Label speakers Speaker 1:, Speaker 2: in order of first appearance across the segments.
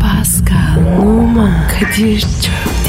Speaker 1: Pascal, Oman, Kadir çok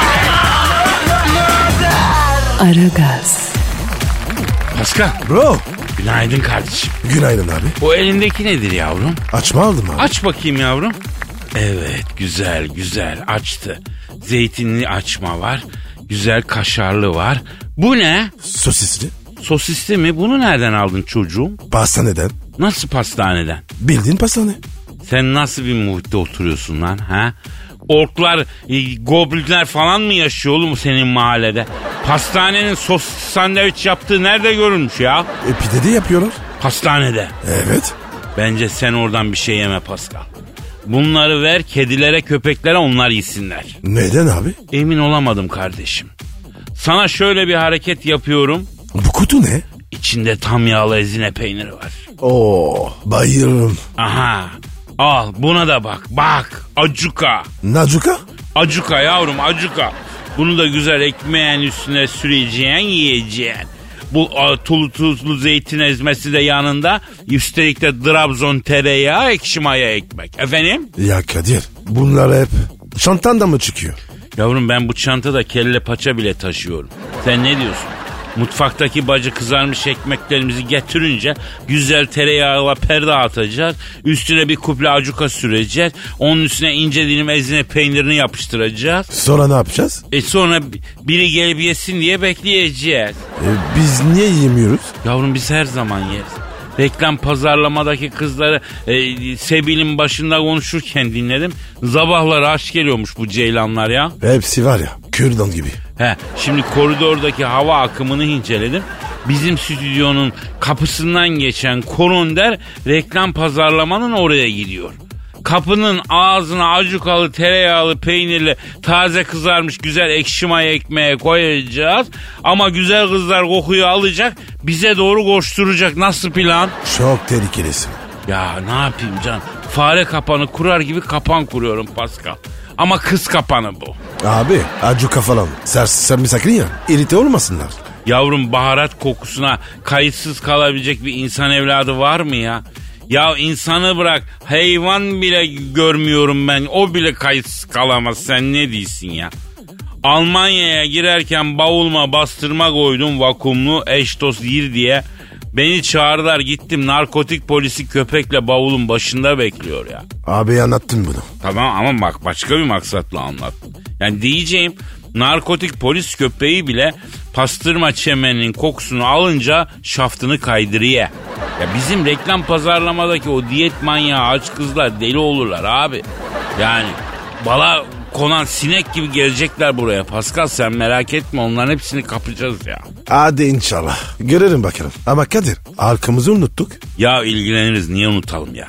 Speaker 1: Aragaz,
Speaker 2: Pascal.
Speaker 3: Bro.
Speaker 2: Günaydın kardeşim.
Speaker 3: Günaydın abi.
Speaker 2: O elindeki nedir yavrum?
Speaker 3: Açma aldım abi.
Speaker 2: Aç bakayım yavrum. Evet güzel güzel açtı. Zeytinli açma var. Güzel kaşarlı var. Bu ne?
Speaker 3: Sosisli.
Speaker 2: Sosisli mi? Bunu nereden aldın çocuğum?
Speaker 3: Pastaneden.
Speaker 2: Nasıl pastaneden?
Speaker 3: Bildiğin pastane.
Speaker 2: Sen nasıl bir muhitte oturuyorsun lan ha? Orklar, e, goblinler falan mı yaşıyor oğlum senin mahallede? Pastanenin sos sandviç yaptığı nerede görülmüş ya?
Speaker 3: E pide de yapıyorlar.
Speaker 2: Pastanede.
Speaker 3: Evet.
Speaker 2: Bence sen oradan bir şey yeme Pascal. Bunları ver kedilere köpeklere onlar yesinler.
Speaker 3: Neden abi?
Speaker 2: Emin olamadım kardeşim. Sana şöyle bir hareket yapıyorum.
Speaker 3: Bu kutu ne?
Speaker 2: İçinde tam yağlı ezine peyniri var.
Speaker 3: Oo. Bayılırım.
Speaker 2: Aha. Al buna da bak. Bak. Acuka.
Speaker 3: Nacuka?
Speaker 2: Acuka yavrum acuka. Bunu da güzel ekmeğin üstüne süreceğin yiyeceğin. Bu a, tulu tuzlu zeytin ezmesi de yanında. Üstelik de Trabzon tereyağı ekşi maya ekmek. Efendim?
Speaker 3: Ya Kadir. Bunlar hep şantandan mı çıkıyor?
Speaker 2: Yavrum ben bu çantada kelle paça bile taşıyorum. Sen ne diyorsun? Mutfaktaki bacı kızarmış ekmeklerimizi getirince güzel tereyağıyla perde atacağız. Üstüne bir kuple acuka süreceğiz. Onun üstüne ince dilim ezine peynirini yapıştıracağız.
Speaker 3: Sonra ne yapacağız?
Speaker 2: E sonra bi- biri gelip yesin diye bekleyeceğiz.
Speaker 3: E, biz niye yemiyoruz?
Speaker 2: Yavrum biz her zaman yeriz. Reklam pazarlamadaki kızları e, Sebil'in başında konuşurken dinledim. Zabahlara aşk geliyormuş bu ceylanlar ya.
Speaker 3: Hepsi var ya. Kürdan gibi.
Speaker 2: He, şimdi koridordaki hava akımını inceledim. Bizim stüdyonun kapısından geçen koronder reklam pazarlamanın oraya gidiyor. Kapının ağzına acukalı, tereyağlı, peynirli, taze kızarmış güzel ekşi maya ekmeğe koyacağız. Ama güzel kızlar kokuyu alacak, bize doğru koşturacak. Nasıl plan?
Speaker 3: Çok tehlikelisin.
Speaker 2: Ya ne yapayım can? Fare kapanı kurar gibi kapan kuruyorum Pascal. Ama kız kapanı bu.
Speaker 3: Abi acuka falan. Ser, sermisaklı ya. İrite olmasınlar.
Speaker 2: Yavrum baharat kokusuna kayıtsız kalabilecek bir insan evladı var mı ya? Ya insanı bırak hayvan bile görmüyorum ben o bile kayıtsız kalamaz sen ne diyorsun ya? Almanya'ya girerken bavulma bastırma koydum vakumlu eş dost gir diye. Beni çağırdılar gittim narkotik polisi köpekle bavulun başında bekliyor ya.
Speaker 3: Abi anlattın bunu.
Speaker 2: Tamam ama bak başka bir maksatla anlat. Yani diyeceğim narkotik polis köpeği bile pastırma çemeninin kokusunu alınca şaftını kaydırıya. Ya bizim reklam pazarlamadaki o diyet manyağı aç kızlar deli olurlar abi. Yani bala konan sinek gibi gelecekler buraya. Pascal sen merak etme onların hepsini kapacağız ya.
Speaker 3: Hadi inşallah. Görelim bakalım. Ama Kadir halkımızı unuttuk.
Speaker 2: Ya ilgileniriz niye unutalım ya?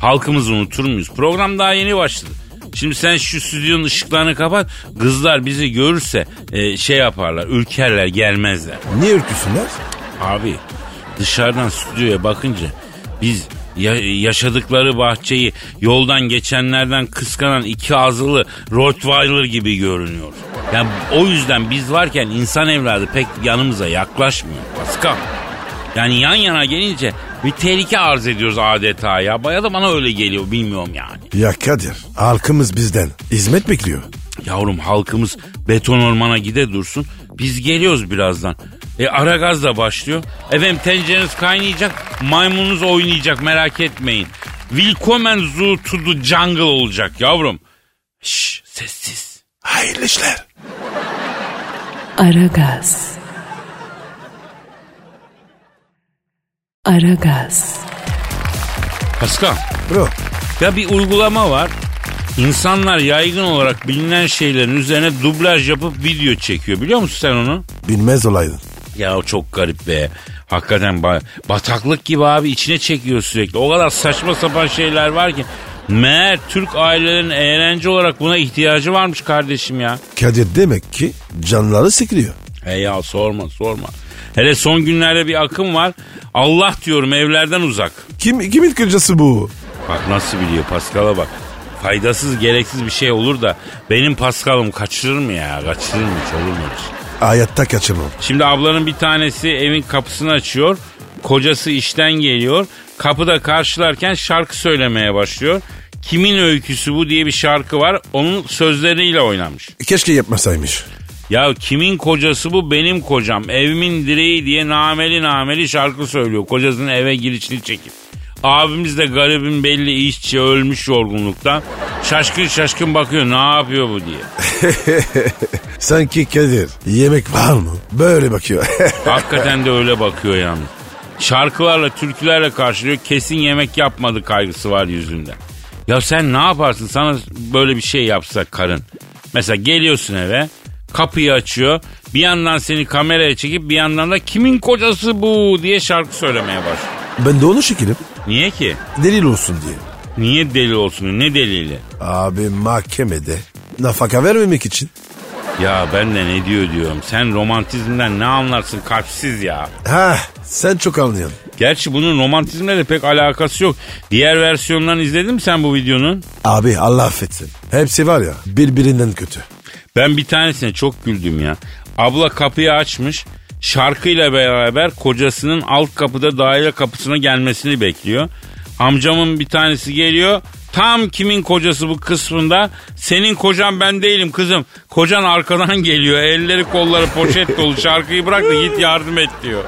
Speaker 2: Halkımızı unutur muyuz? Program daha yeni başladı. Şimdi sen şu stüdyonun ışıklarını kapat. Kızlar bizi görürse e, şey yaparlar, ürkerler, gelmezler.
Speaker 3: Niye ürküsünler?
Speaker 2: Abi dışarıdan stüdyoya bakınca biz ya- yaşadıkları bahçeyi yoldan geçenlerden kıskanan iki ağızlı Rottweiler gibi görünüyor. Yani o yüzden biz varken insan evladı pek yanımıza yaklaşmıyor Pascal. Yani yan yana gelince bir tehlike arz ediyoruz adeta ya. Baya da bana öyle geliyor bilmiyorum yani.
Speaker 3: Ya Kadir halkımız bizden hizmet bekliyor.
Speaker 2: Yavrum halkımız beton ormana gide dursun. Biz geliyoruz birazdan. E ara gaz da başlıyor. Efendim tencereniz kaynayacak. Maymununuz oynayacak merak etmeyin. Willkommen zu to the jungle olacak yavrum. Şşş sessiz.
Speaker 3: Hayırlı işler.
Speaker 1: Aragaz. Aragaz,
Speaker 2: Pascal
Speaker 3: Bro
Speaker 2: ya bir uygulama var. İnsanlar yaygın olarak bilinen şeylerin üzerine dublaj yapıp video çekiyor. Biliyor musun sen onu?
Speaker 3: bilmez olaydın.
Speaker 2: Ya çok garip be. Hakikaten ba- bataklık gibi abi içine çekiyor sürekli. O kadar saçma sapan şeyler var ki. Meğer Türk ailelerin eğlence olarak buna ihtiyacı varmış kardeşim ya.
Speaker 3: Kadir demek ki canları sıkılıyor.
Speaker 2: He ya sorma sorma. Hele son günlerde bir akım var. Allah diyorum evlerden uzak.
Speaker 3: Kim, kimin kocası bu?
Speaker 2: Bak nasıl biliyor Paskal'a bak. Faydasız gereksiz bir şey olur da benim Paskal'ım kaçırır mı ya? Kaçırır mı? hiç, Olur mu? hiç?
Speaker 3: Hayatta kaçırmam.
Speaker 2: Şimdi ablanın bir tanesi evin kapısını açıyor. Kocası işten geliyor. Kapıda karşılarken şarkı söylemeye başlıyor. Kimin öyküsü bu diye bir şarkı var. Onun sözleriyle oynamış.
Speaker 3: Keşke yapmasaymış.
Speaker 2: Ya kimin kocası bu? Benim kocam. Evimin direği diye nameli nameli şarkı söylüyor. Kocasının eve girişini çekip. Abimiz de garibin belli işçi ölmüş yorgunluktan. Şaşkın şaşkın bakıyor ne yapıyor bu diye.
Speaker 3: Sanki Kadir yemek var mı? Böyle bakıyor.
Speaker 2: Hakikaten de öyle bakıyor yani. Şarkılarla, türkülerle karşılıyor. Kesin yemek yapmadı kaygısı var yüzünde. Ya sen ne yaparsın? Sana böyle bir şey yapsak karın. Mesela geliyorsun eve, kapıyı açıyor. Bir yandan seni kameraya çekip bir yandan da kimin kocası bu diye şarkı söylemeye başlıyor.
Speaker 3: ben de onu şekilim.
Speaker 2: Niye ki?
Speaker 3: Delil olsun diye.
Speaker 2: Niye deli olsun? Ne delili?
Speaker 3: Abi mahkemede nafaka vermemek için.
Speaker 2: Ya ben de ne diyor diyorum. Sen romantizmden ne anlarsın kalpsiz ya.
Speaker 3: Ha sen çok anlıyorsun.
Speaker 2: Gerçi bunun romantizmle de pek alakası yok. Diğer versiyonlarını izledin mi sen bu videonun?
Speaker 3: Abi Allah affetsin. Hepsi var ya birbirinden kötü.
Speaker 2: Ben bir tanesine çok güldüm ya. Abla kapıyı açmış. Şarkıyla beraber kocasının alt kapıda daire kapısına gelmesini bekliyor. Amcamın bir tanesi geliyor. Tam kimin kocası bu kısmında senin kocan ben değilim kızım. Kocan arkadan geliyor. Elleri kolları poşet dolu şarkıyı bırak da git yardım et diyor.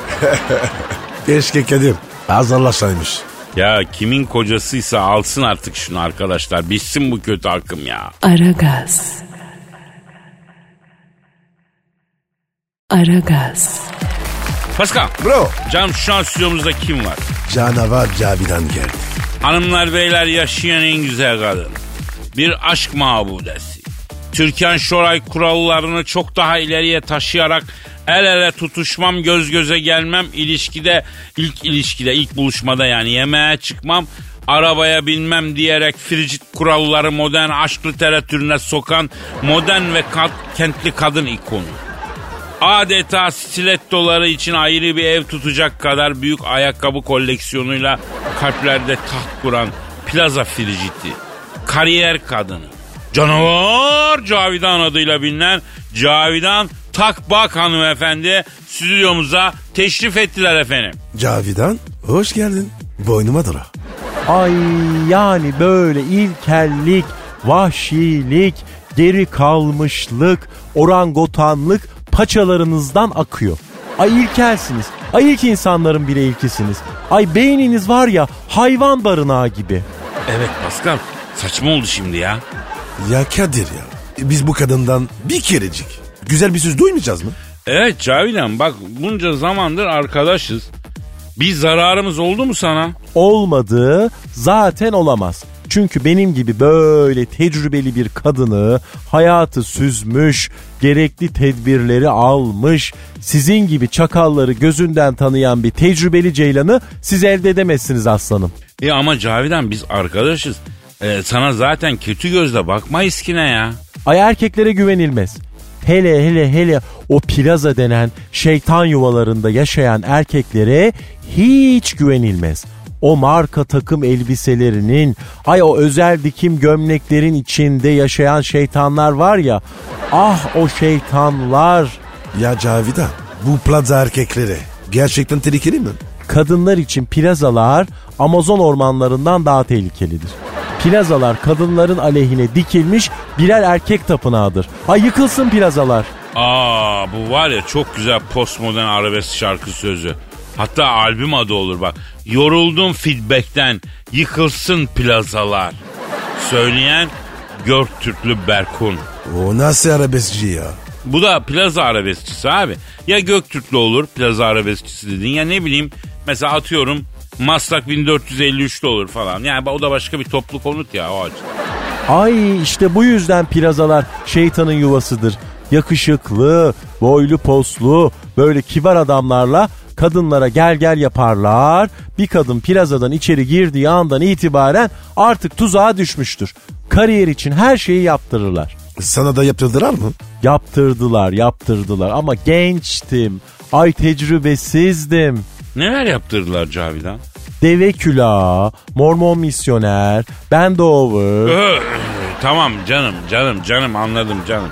Speaker 3: Keşke Kadir az anlaşaymış.
Speaker 2: Ya kimin kocasıysa alsın artık şunu arkadaşlar. Bitsin bu kötü akım ya.
Speaker 1: Aragaz. Aragaz.
Speaker 2: Pascal.
Speaker 3: Bro.
Speaker 2: Canım şu an stüdyomuzda kim var?
Speaker 3: Canavar Cavidan geldi.
Speaker 2: Hanımlar beyler yaşayan en güzel kadın. Bir aşk mabudesi. Türkan Şoray kurallarını çok daha ileriye taşıyarak el ele tutuşmam, göz göze gelmem, ilişkide, ilk ilişkide, ilk buluşmada yani yemeğe çıkmam, arabaya binmem diyerek fricit kuralları modern aşk literatürüne sokan modern ve kat- kentli kadın ikonu. Adeta stilettoları için ayrı bir ev tutacak kadar büyük ayakkabı koleksiyonuyla kalplerde taht kuran plaza friciti. Kariyer kadını. Canavar Cavidan adıyla bilinen Cavidan Takbak hanımefendi stüdyomuza teşrif ettiler efendim.
Speaker 3: Cavidan hoş geldin. Boynuma dola.
Speaker 4: Ay yani böyle ilkellik, vahşilik, geri kalmışlık, orangotanlık paçalarınızdan akıyor. Ay ilkelsiniz. Ay ilk insanların bile ilkisiniz. Ay beyniniz var ya hayvan barınağı gibi.
Speaker 2: Evet Pascal saçma oldu şimdi ya.
Speaker 3: Ya Kadir ya biz bu kadından bir kerecik güzel bir söz duymayacağız mı?
Speaker 2: Evet Cavidan bak bunca zamandır arkadaşız. Bir zararımız oldu mu sana?
Speaker 4: olmadığı zaten olamaz. Çünkü benim gibi böyle tecrübeli bir kadını hayatı süzmüş, gerekli tedbirleri almış, sizin gibi çakalları gözünden tanıyan bir tecrübeli ceylanı siz elde edemezsiniz aslanım.
Speaker 2: E ama Cavidan biz arkadaşız. E, sana zaten kötü gözle bakmayız ki ne ya.
Speaker 4: Ay erkeklere güvenilmez. Hele hele hele o plaza denen şeytan yuvalarında yaşayan erkeklere hiç güvenilmez. O marka takım elbiselerinin, ay o özel dikim gömleklerin içinde yaşayan şeytanlar var ya. Ah o şeytanlar.
Speaker 3: Ya Cavidan bu plaza erkekleri gerçekten tehlikeli mi?
Speaker 4: Kadınlar için plazalar Amazon ormanlarından daha tehlikelidir. Plazalar kadınların aleyhine dikilmiş birer erkek tapınağıdır. Ay yıkılsın plazalar.
Speaker 2: Aa bu var ya çok güzel postmodern arabesk şarkı sözü. Hatta albüm adı olur bak. Yoruldum feedback'ten yıkılsın plazalar. Söyleyen Göktürklü Berkun.
Speaker 3: O nasıl arabeskçi ya?
Speaker 2: Bu da plaza arabeskçisi abi. Ya Göktürklü olur plaza arabeskçisi dedin ya ne bileyim mesela atıyorum Maslak 1453'te olur falan. Yani o da başka bir toplu konut ya o açıdan.
Speaker 4: Ay işte bu yüzden plazalar şeytanın yuvasıdır. Yakışıklı, boylu poslu, böyle kibar adamlarla kadınlara gel gel yaparlar. Bir kadın plazadan içeri girdiği andan itibaren artık tuzağa düşmüştür. Kariyer için her şeyi yaptırırlar.
Speaker 3: Sana da yaptırdılar mı?
Speaker 4: Yaptırdılar, yaptırdılar ama gençtim. Ay tecrübesizdim.
Speaker 2: Neler yaptırdılar Cavidan?
Speaker 4: Deve külahı, mormon misyoner, bendover.
Speaker 2: Öh, tamam canım canım canım anladım canım.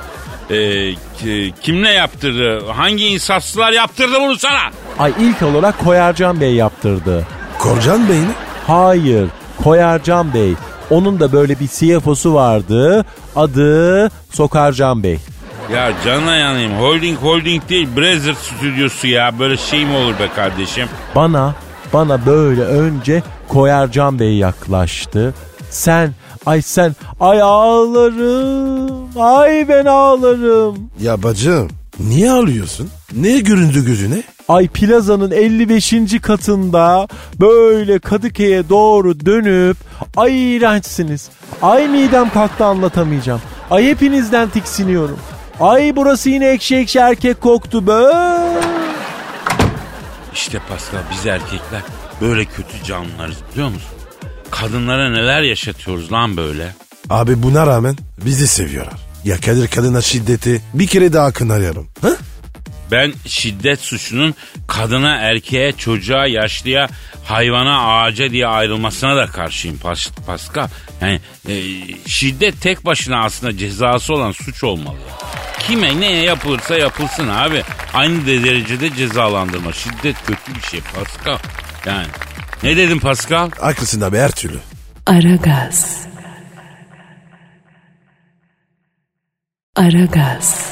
Speaker 2: Ee, ki- kimle yaptırdı? Hangi insafsızlar yaptırdı bunu sana?
Speaker 4: Ay ilk olarak Koyarcan Bey yaptırdı.
Speaker 3: Korcan Bey'in
Speaker 4: Hayır, Koyarcan Bey. Onun da böyle bir CFO'su vardı. Adı Sokarcan Bey.
Speaker 2: Ya canına yanayım. Holding holding değil. Brazzer stüdyosu ya. Böyle şey mi olur be kardeşim?
Speaker 4: Bana, bana böyle önce Koyarcan Bey yaklaştı. Sen, ay sen, ay ağlarım, ay ben ağlarım.
Speaker 3: Ya bacım niye ağlıyorsun? Ne göründü gözüne?
Speaker 4: Ay plazanın 55. katında böyle Kadıköy'e doğru dönüp ay iğrençsiniz. Ay midem kalktı anlatamayacağım. Ay hepinizden tiksiniyorum. Ay burası yine ekşi ekşi erkek koktu be.
Speaker 2: İşte Pascal biz erkekler böyle kötü canlılarız biliyor musun? Kadınlara neler yaşatıyoruz lan böyle?
Speaker 3: Abi buna rağmen bizi seviyorlar. Ya Kadir kadına şiddeti bir kere daha kınarıyorum. Ha?
Speaker 2: Ben şiddet suçunun kadına, erkeğe, çocuğa, yaşlıya, hayvana, ağaca diye ayrılmasına da karşıyım Pas Pascal. Yani e, şiddet tek başına aslında cezası olan suç olmalı. Kime neye yapılırsa yapılsın abi. Aynı de- derecede cezalandırma. Şiddet kötü bir şey Pascal. Yani ne dedim Pascal?
Speaker 3: Haklısın abi her türlü.
Speaker 1: Aragaz. Aragaz.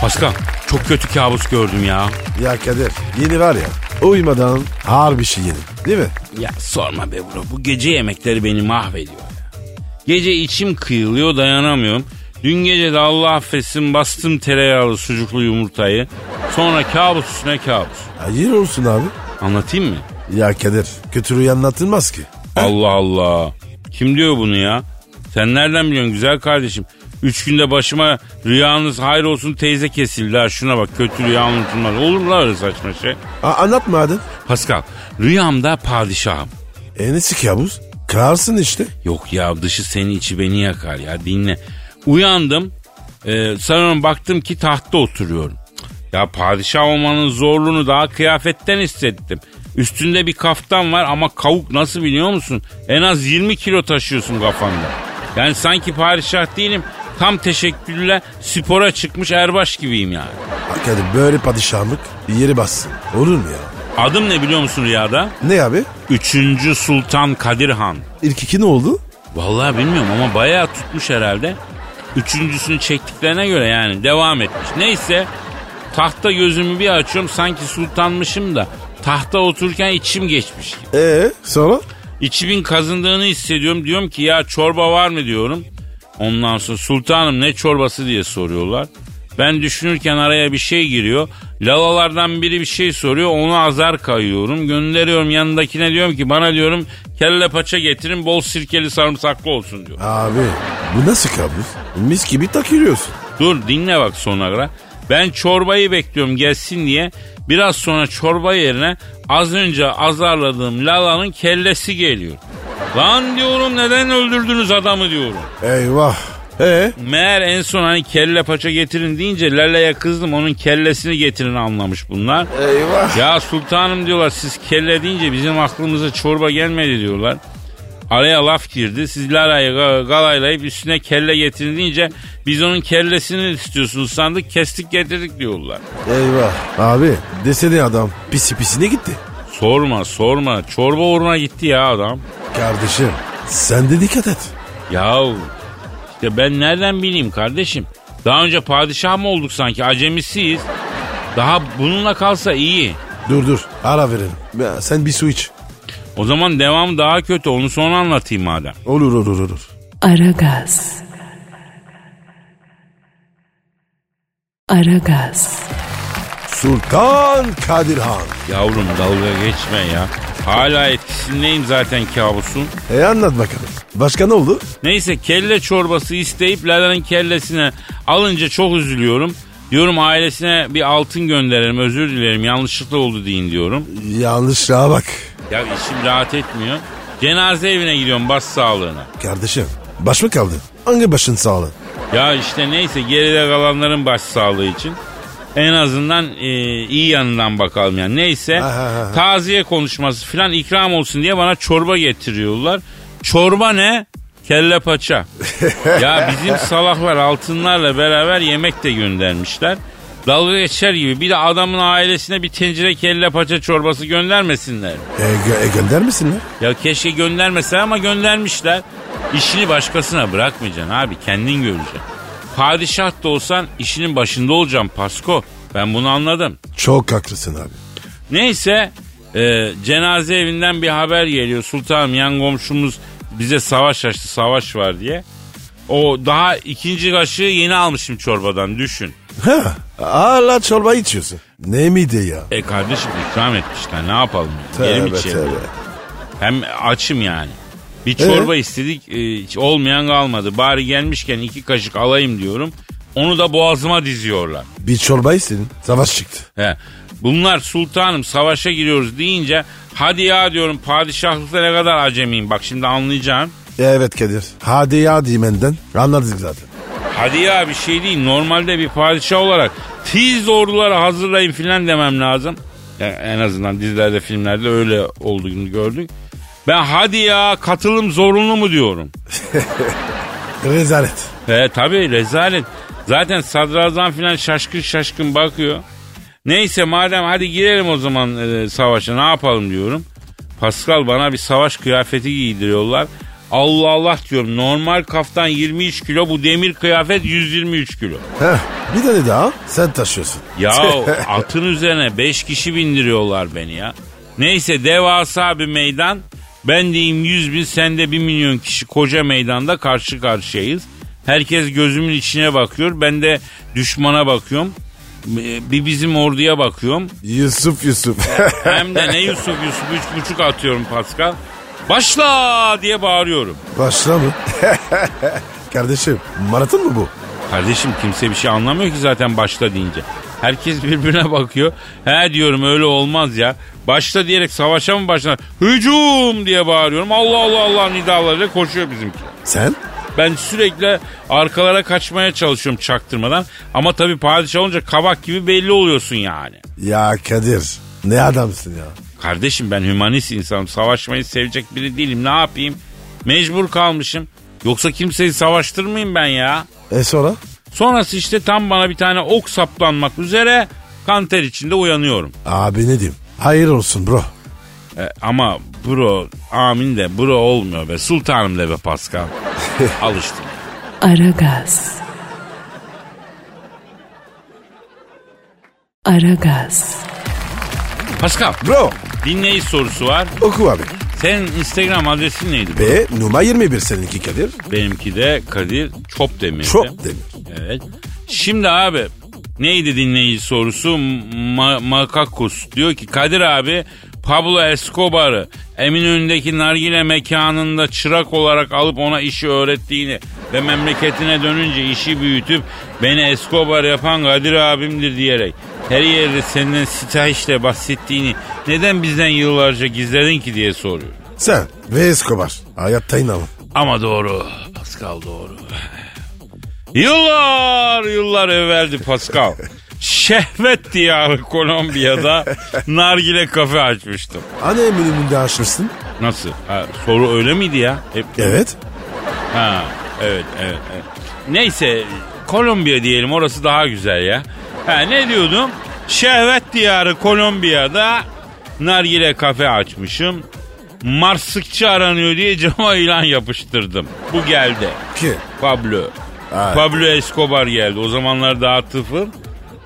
Speaker 2: Pascal çok kötü kabus gördüm ya.
Speaker 3: Ya Kadir yeni var ya uyumadan ağır bir şey yeni değil mi?
Speaker 2: Ya sorma be bro. Bu gece yemekleri beni mahvediyor ya. Gece içim kıyılıyor dayanamıyorum. Dün gece de Allah affetsin bastım tereyağlı sucuklu yumurtayı. Sonra kabus üstüne kabus.
Speaker 3: Hayır olsun abi.
Speaker 2: Anlatayım mı?
Speaker 3: Ya Kadir kötü rüya anlatılmaz ki.
Speaker 2: Allah Allah. Kim diyor bunu ya? Sen nereden biliyorsun güzel kardeşim? Üç günde başıma rüyanız hayır olsun teyze kesildi ha. Şuna bak kötü rüya unutulmaz. Olur mu lan öyle saçma şey?
Speaker 3: A- anlatma hadi.
Speaker 2: Pascal rüyamda padişahım.
Speaker 3: E nesi kabus? Kırarsın işte.
Speaker 2: Yok ya dışı seni içi beni yakar ya dinle. Uyandım. E, sanırım baktım ki tahtta oturuyorum. Ya padişah olmanın zorluğunu daha kıyafetten hissettim. Üstünde bir kaftan var ama kavuk nasıl biliyor musun? En az 20 kilo taşıyorsun kafanda. Yani sanki padişah değilim. Tam teşekkürle spora çıkmış erbaş gibiyim yani.
Speaker 3: Ya Kadir böyle padişahlık yeri bassın. Olur mu ya?
Speaker 2: Adım ne biliyor musun rüyada?
Speaker 3: Ne abi?
Speaker 2: Üçüncü Sultan Kadir Han.
Speaker 3: İlk iki ne oldu?
Speaker 2: Vallahi bilmiyorum ama bayağı tutmuş herhalde. Üçüncüsünü çektiklerine göre yani devam etmiş. Neyse tahta gözümü bir açıyorum sanki sultanmışım da tahta otururken içim geçmiş. gibi.
Speaker 3: E sonra?
Speaker 2: İçimin kazındığını hissediyorum. Diyorum ki ya çorba var mı diyorum. Ondan sonra sultanım ne çorbası diye soruyorlar. Ben düşünürken araya bir şey giriyor. Lalalardan biri bir şey soruyor. Onu azar kayıyorum. Gönderiyorum yanındakine diyorum ki bana diyorum kelle paça getirin bol sirkeli sarımsaklı olsun diyor.
Speaker 3: Abi bu nasıl kabus? Mis gibi takılıyorsun.
Speaker 2: Dur dinle bak sonuna kadar. Ben çorbayı bekliyorum gelsin diye. Biraz sonra çorba yerine az önce azarladığım Lala'nın kellesi geliyor. Lan diyorum neden öldürdünüz adamı diyorum.
Speaker 3: Eyvah. E
Speaker 2: Meğer en son hani kelle paça getirin deyince Lala'ya kızdım onun kellesini getirin anlamış bunlar.
Speaker 3: eyvah.
Speaker 2: Ya sultanım diyorlar siz kelle deyince bizim aklımıza çorba gelmedi diyorlar. Araya laf girdi. Siz Lara'yı ga- galaylayıp üstüne kelle getirin deyince biz onun kellesini istiyorsunuz sandık kestik getirdik diyorlar.
Speaker 3: Eyvah. Abi desene adam pisi pisine gitti.
Speaker 2: Sorma sorma çorba uğruna gitti ya adam.
Speaker 3: Kardeşim sen de dikkat et.
Speaker 2: Yahu işte ben nereden bileyim kardeşim? Daha önce padişah mı olduk sanki acemisiyiz. Daha bununla kalsa iyi.
Speaker 3: Dur dur ara verelim. Ya, sen bir su iç.
Speaker 2: O zaman devam daha kötü onu sonra anlatayım madem.
Speaker 3: Olur olur olur.
Speaker 1: Aragaz. Aragaz.
Speaker 3: Sultan Kadir Han.
Speaker 2: Yavrum dalga geçme ya. Hala etkisindeyim zaten kabusun.
Speaker 3: E anlat bakalım. Başka ne oldu?
Speaker 2: Neyse kelle çorbası isteyip Lala'nın kellesine alınca çok üzülüyorum. Diyorum ailesine bir altın gönderelim özür dilerim yanlışlıkla oldu deyin diyorum.
Speaker 3: Yanlışlığa bak.
Speaker 2: Ya işim rahat etmiyor. Cenaze evine gidiyorum bas sağlığına.
Speaker 3: Kardeşim baş mı kaldı? Hangi başın sağlığı?
Speaker 2: Ya işte neyse geride kalanların baş sağlığı için. En azından e, iyi yanından bakalım yani. Neyse
Speaker 3: Aha, aha.
Speaker 2: taziye konuşması filan ikram olsun diye bana çorba getiriyorlar. Çorba ne? Kelle paça. ya bizim salaklar altınlarla beraber yemek de göndermişler. Dalga geçer gibi bir de adamın ailesine bir tencere kelle paça çorbası göndermesinler.
Speaker 3: E, gö- e, gönder misin lan?
Speaker 2: Ya keşke göndermeseler ama göndermişler. İşini başkasına bırakmayacaksın abi kendin göreceksin. Padişah da olsan işinin başında olacaksın Pasko. Ben bunu anladım.
Speaker 3: Çok haklısın abi.
Speaker 2: Neyse e, cenaze evinden bir haber geliyor. Sultanım yan komşumuz bize savaş açtı savaş var diye. O daha ikinci kaşığı yeni almışım çorbadan düşün.
Speaker 3: Ha, hala çorba içiyorsun. Ne miydi ya?
Speaker 2: E kardeşim ikram etmişler ne yapalım? Yerim
Speaker 3: Tövbe
Speaker 2: içerim.
Speaker 3: tövbe.
Speaker 2: Hem açım yani. Bir çorba istedik e, hiç olmayan kalmadı. Bari gelmişken iki kaşık alayım diyorum. Onu da boğazıma diziyorlar.
Speaker 3: Bir çorba istedin. Savaş çıktı.
Speaker 2: He. Bunlar sultanım savaşa giriyoruz deyince hadi ya diyorum padişahlıkta ne kadar acemiyim. Bak şimdi anlayacağım.
Speaker 3: Evet Kadir. Hadi ya diyeyim benden. Anladık zaten.
Speaker 2: Hadi ya bir şey değil normalde bir padişah olarak tiz orduları hazırlayın filan demem lazım. Ya en azından dizilerde filmlerde öyle olduğunu gördük. Ben hadi ya katılım zorunlu mu diyorum.
Speaker 3: Rezalet.
Speaker 2: He tabii rezalet. Zaten sadrazam filan şaşkın şaşkın bakıyor. Neyse madem hadi girelim o zaman e, savaşa ne yapalım diyorum. Pascal bana bir savaş kıyafeti giydiriyorlar. Allah Allah diyorum normal kaftan 23 kilo bu demir kıyafet 123 kilo.
Speaker 3: Heh, bir tane daha sen taşıyorsun.
Speaker 2: Ya atın üzerine 5 kişi bindiriyorlar beni ya. Neyse devasa bir meydan. Ben diyeyim 100 bin sen de 1 milyon kişi koca meydanda karşı karşıyayız. Herkes gözümün içine bakıyor. Ben de düşmana bakıyorum. Ee, Bir bizim orduya bakıyorum.
Speaker 3: Yusuf Yusuf.
Speaker 2: Hem de ne Yusuf Yusuf üç buçuk atıyorum Pascal. Başla diye bağırıyorum.
Speaker 3: Başla mı? Kardeşim maraton mu bu?
Speaker 2: Kardeşim kimse bir şey anlamıyor ki zaten başla deyince. Herkes birbirine bakıyor. He diyorum öyle olmaz ya. Başla diyerek savaşa mı başlar? Hücum diye bağırıyorum. Allah Allah Allah nidalarıyla koşuyor bizimki.
Speaker 3: Sen?
Speaker 2: Ben sürekli arkalara kaçmaya çalışıyorum çaktırmadan. Ama tabii padişah olunca kabak gibi belli oluyorsun yani.
Speaker 3: Ya Kadir ne adamsın ya.
Speaker 2: Kardeşim ben hümanist insanım. Savaşmayı sevecek biri değilim. Ne yapayım? Mecbur kalmışım. Yoksa kimseyi savaştırmayayım ben ya.
Speaker 3: E sonra?
Speaker 2: Sonrası işte tam bana bir tane ok saplanmak üzere kanter içinde uyanıyorum.
Speaker 3: Abi ne diyeyim? Hayır olsun bro.
Speaker 2: E, ama bro amin de bro olmuyor be sultanım de be Pascal. Alıştım.
Speaker 1: Aragaz. Aragaz.
Speaker 2: Pascal
Speaker 3: Bro
Speaker 2: dinleyici sorusu var.
Speaker 3: oku abi.
Speaker 2: Senin Instagram adresin neydi?
Speaker 3: Ve numara 21 seninki Kadir.
Speaker 2: Benimki de Kadir Çopdemir.
Speaker 3: Çok demir.
Speaker 2: Evet. Şimdi abi neydi dinleyici sorusu? Ma- Makakus diyor ki Kadir abi Pablo Escobar'ı Eminönü'ndeki nargile mekanında çırak olarak alıp ona işi öğrettiğini ve memleketine dönünce işi büyütüp beni Escobar yapan Kadir abimdir diyerek her yerde senden sitahişle bahsettiğini neden bizden yıllarca gizledin ki diye soruyor.
Speaker 3: Sen ve Escobar. Hayatta inanın.
Speaker 2: Ama doğru. Pascal doğru. Yıllar yıllar evveldi Pascal. Şehvet diyarı Kolombiya'da nargile kafe açmıştım.
Speaker 3: Hani eminiminde aşırsın?
Speaker 2: Nasıl? Ha, soru öyle miydi ya? Hep,
Speaker 3: Evet.
Speaker 2: Ha, evet, evet, evet. Neyse, Kolombiya diyelim orası daha güzel ya. Ha, ne diyordum? Şehvet diyarı Kolombiya'da nargile kafe açmışım. Marsıkçı aranıyor diye cama ilan yapıştırdım. Bu geldi.
Speaker 3: Ki.
Speaker 2: Pablo.
Speaker 3: Evet.
Speaker 2: Pablo Escobar geldi. O zamanlar daha tıfıl.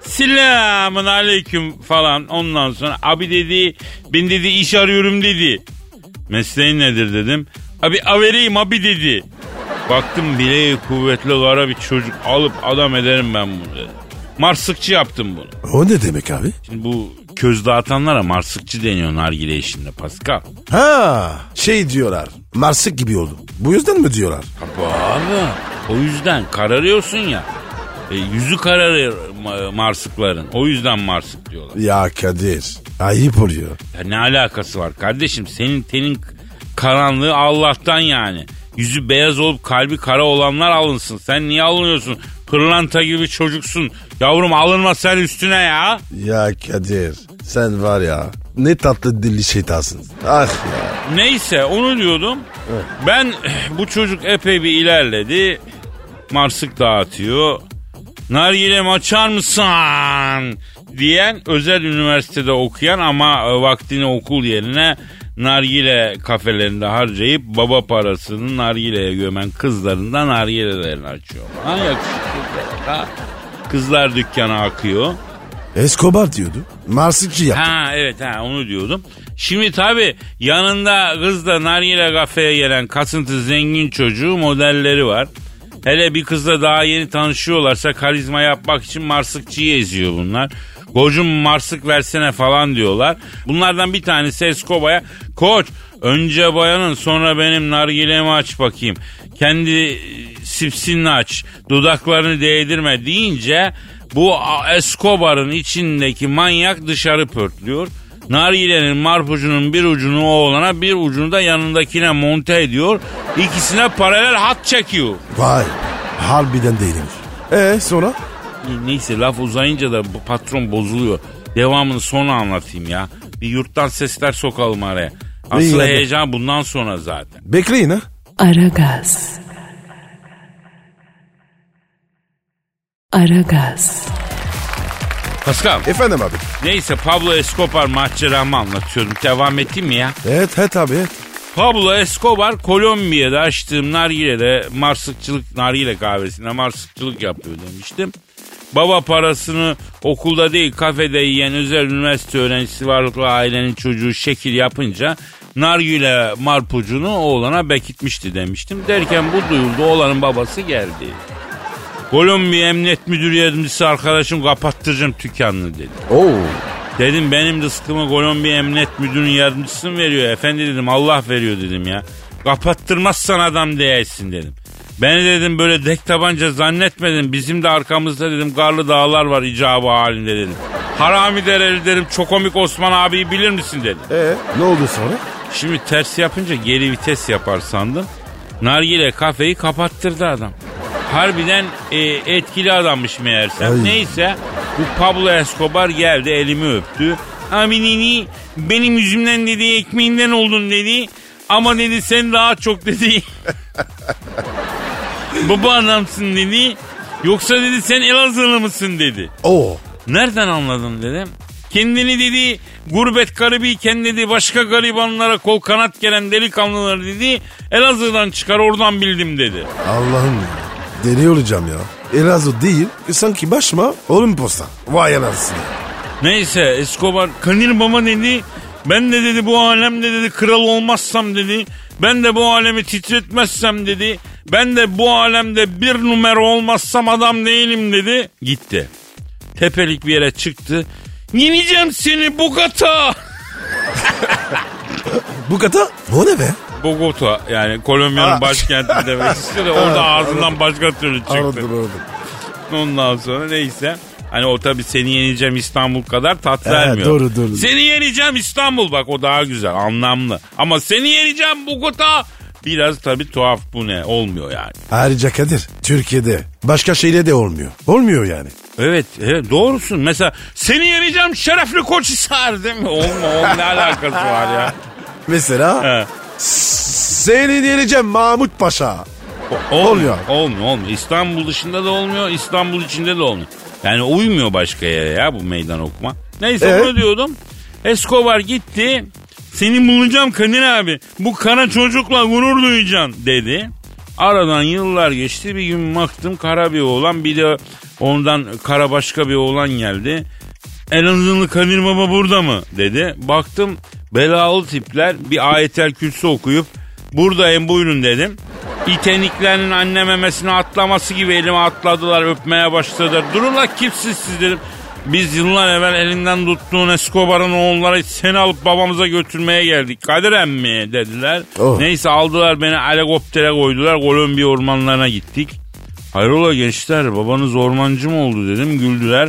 Speaker 2: Selamın aleyküm falan. Ondan sonra abi dedi ben dedi iş arıyorum dedi. Mesleğin nedir dedim. Abi avereyim abi dedi. Baktım bileği kuvvetli kara bir çocuk alıp adam ederim ben bunu dedi. Marsıkçı yaptım bunu.
Speaker 3: O ne demek abi?
Speaker 2: Şimdi bu köz dağıtanlara marsıkçı deniyor nargile işinde Pascal.
Speaker 3: Ha şey diyorlar. Marsık gibi oldu. Bu yüzden mi diyorlar?
Speaker 2: Abi o yüzden kararıyorsun ya. E, yüzü kararır ma- marsıkların. O yüzden marsık diyorlar.
Speaker 3: Ya Kadir ayıp oluyor.
Speaker 2: Ya ne alakası var kardeşim? Senin tenin karanlığı Allah'tan yani. Yüzü beyaz olup kalbi kara olanlar alınsın. Sen niye alınıyorsun? Pırlanta gibi çocuksun. Yavrum alınma sen üstüne ya.
Speaker 3: Ya Kadir sen var ya ne tatlı dilli şeytansın. Ah ya.
Speaker 2: Neyse onu diyordum. Ben eh, bu çocuk epey bir ilerledi. Marsık dağıtıyor. Nargilem açar mısın? diyen özel üniversitede okuyan ama e, vaktini okul yerine nargile kafelerinde harcayıp baba parasını nargileye gömen kızlarından nargilelerini açıyor. Ha yakışıklı kız ha. Kızlar dükkanı akıyor.
Speaker 3: Escobar diyordu. Marsıkçı yaptı.
Speaker 2: Ha evet ha onu diyordum. Şimdi tabi yanında kızla nargile kafeye gelen kasıntı zengin çocuğu modelleri var. Hele bir kızla daha yeni tanışıyorlarsa karizma yapmak için marsıkçıyı eziyor bunlar. Kocum marsık versene falan diyorlar. Bunlardan bir tanesi Escobar'a koç önce bayanın sonra benim nargilemi aç bakayım. Kendi e, sipsinle aç dudaklarını değdirme deyince bu a- Escobar'ın içindeki manyak dışarı pörtlüyor. Nargile'nin marpucunun bir ucunu oğlana bir ucunu da yanındakine monte ediyor. İkisine paralel hat çekiyor.
Speaker 3: Vay harbiden değilmiş. E sonra?
Speaker 2: Neyse laf uzayınca da bu patron bozuluyor. Devamını sonra anlatayım ya. Bir yurttan sesler sokalım araya.
Speaker 3: İyi,
Speaker 2: Asıl
Speaker 3: hadi.
Speaker 2: heyecan bundan sonra zaten.
Speaker 3: Bekleyin ha.
Speaker 1: Aragaz. Aragaz.
Speaker 2: Pascal.
Speaker 3: Efendim abi.
Speaker 2: Neyse Pablo Escobar maceramı anlatıyorum. Devam edeyim mi ya?
Speaker 3: Evet evet abi. evet.
Speaker 2: Pablo Escobar Kolombiya'da açtığım nargilede marsıkçılık nargile kahvesinde marsıkçılık yapıyor demiştim. Baba parasını okulda değil kafede yiyen özel üniversite öğrencisi varlıklı ailenin çocuğu şekil yapınca nargile marpucunu oğlana bekitmişti demiştim. Derken bu duyuldu oğlanın babası geldi. Kolombiya Emniyet Müdürü Yardımcısı arkadaşım kapattıracağım dükkanını dedi.
Speaker 3: Oo.
Speaker 2: Dedim benim rızkımı Kolombiya Emniyet Müdürü'nün yardımcısı mı veriyor? Efendi dedim Allah veriyor dedim ya. Kapattırmazsan adam değersin dedim. Beni dedim böyle dek tabanca zannetmedim. Bizim de arkamızda dedim karlı dağlar var icabı halinde dedim. Harami dereli dedim Çokomik Osman abiyi bilir misin dedim.
Speaker 3: E ne oldu sonra?
Speaker 2: Şimdi ters yapınca geri vites yapar sandım. Nargile kafeyi kapattırdı adam. Harbiden e, etkili adammış meğerse.
Speaker 3: Ay.
Speaker 2: Neyse bu Pablo Escobar geldi elimi öptü. Aminini benim yüzümden dedi ekmeğinden oldun dedi. Ama dedi sen daha çok dedi. Baba adamsın dedi. Yoksa dedi sen Elazığlı mısın dedi.
Speaker 3: Oo.
Speaker 2: Nereden anladın dedim. Kendini dedi gurbet garibiyken dedi başka garibanlara kol kanat gelen delikanlıları dedi Elazığ'dan çıkar oradan bildim dedi.
Speaker 3: Allah'ım ya. Deli olacağım ya. Elazığ değil. e, Sanki başma oğlum posta. Vay anasını.
Speaker 2: Neyse Escobar Kanir Baba dedi ben de dedi bu alemde dedi kral olmazsam dedi ben de bu alemi titretmezsem dedi ben de bu alemde bir numara olmazsam adam değilim dedi gitti. Tepelik bir yere çıktı. Yeneceğim seni Bogota.
Speaker 3: Bu kata o ne be?
Speaker 2: Bogota yani Kolombiya'nın
Speaker 3: Ha.
Speaker 2: başkenti demek istiyor da orada ağzından başka türlü çıktı.
Speaker 3: Aradım aradım.
Speaker 2: Ondan sonra neyse. Hani o tabii seni yeneceğim İstanbul kadar tat
Speaker 3: He,
Speaker 2: vermiyor.
Speaker 3: doğru, doğru.
Speaker 2: Seni yeneceğim İstanbul bak o daha güzel anlamlı. Ama seni yeneceğim Bogota biraz tabii tuhaf bu ne olmuyor yani.
Speaker 3: Ayrıca Kadir Türkiye'de başka şeyle de olmuyor. Olmuyor yani.
Speaker 2: Evet, evet doğrusun. Mesela seni yeneceğim şerefli Koçhisar değil mi? Olma oğlum ne alakası var ya.
Speaker 3: Mesela
Speaker 2: He.
Speaker 3: seni diyeceğim Mahmut Paşa.
Speaker 2: Olmuyor.
Speaker 3: Olmuyor.
Speaker 2: Olmuyor. Olmuyor İstanbul dışında da olmuyor. İstanbul içinde de olmuyor. Yani uymuyor başka yere ya bu meydan okuma. Neyse
Speaker 3: Evet.
Speaker 2: onu diyordum. Escobar gitti. Seni bulacağım Kadir abi. Bu kara çocukla gurur duyacaksın dedi. Aradan yıllar geçti. Bir gün baktım kara bir oğlan bir de ondan kara başka bir oğlan geldi. Elazığlı Kadir Baba burada mı dedi. Baktım belalı tipler bir ayetel kürsü okuyup buradayım buyurun dedim. İteniklerin anne memesini atlaması gibi elime atladılar öpmeye başladılar. Durun la kimsiniz siz dedim. Biz yıllar evvel elinden tuttuğun Escobar'ın oğulları seni alıp babamıza götürmeye geldik. Kadir emmi dediler.
Speaker 3: Oh.
Speaker 2: Neyse aldılar beni helikoptere koydular. Kolombiya ormanlarına gittik. Hayrola gençler babanız ormancı mı oldu dedim güldüler.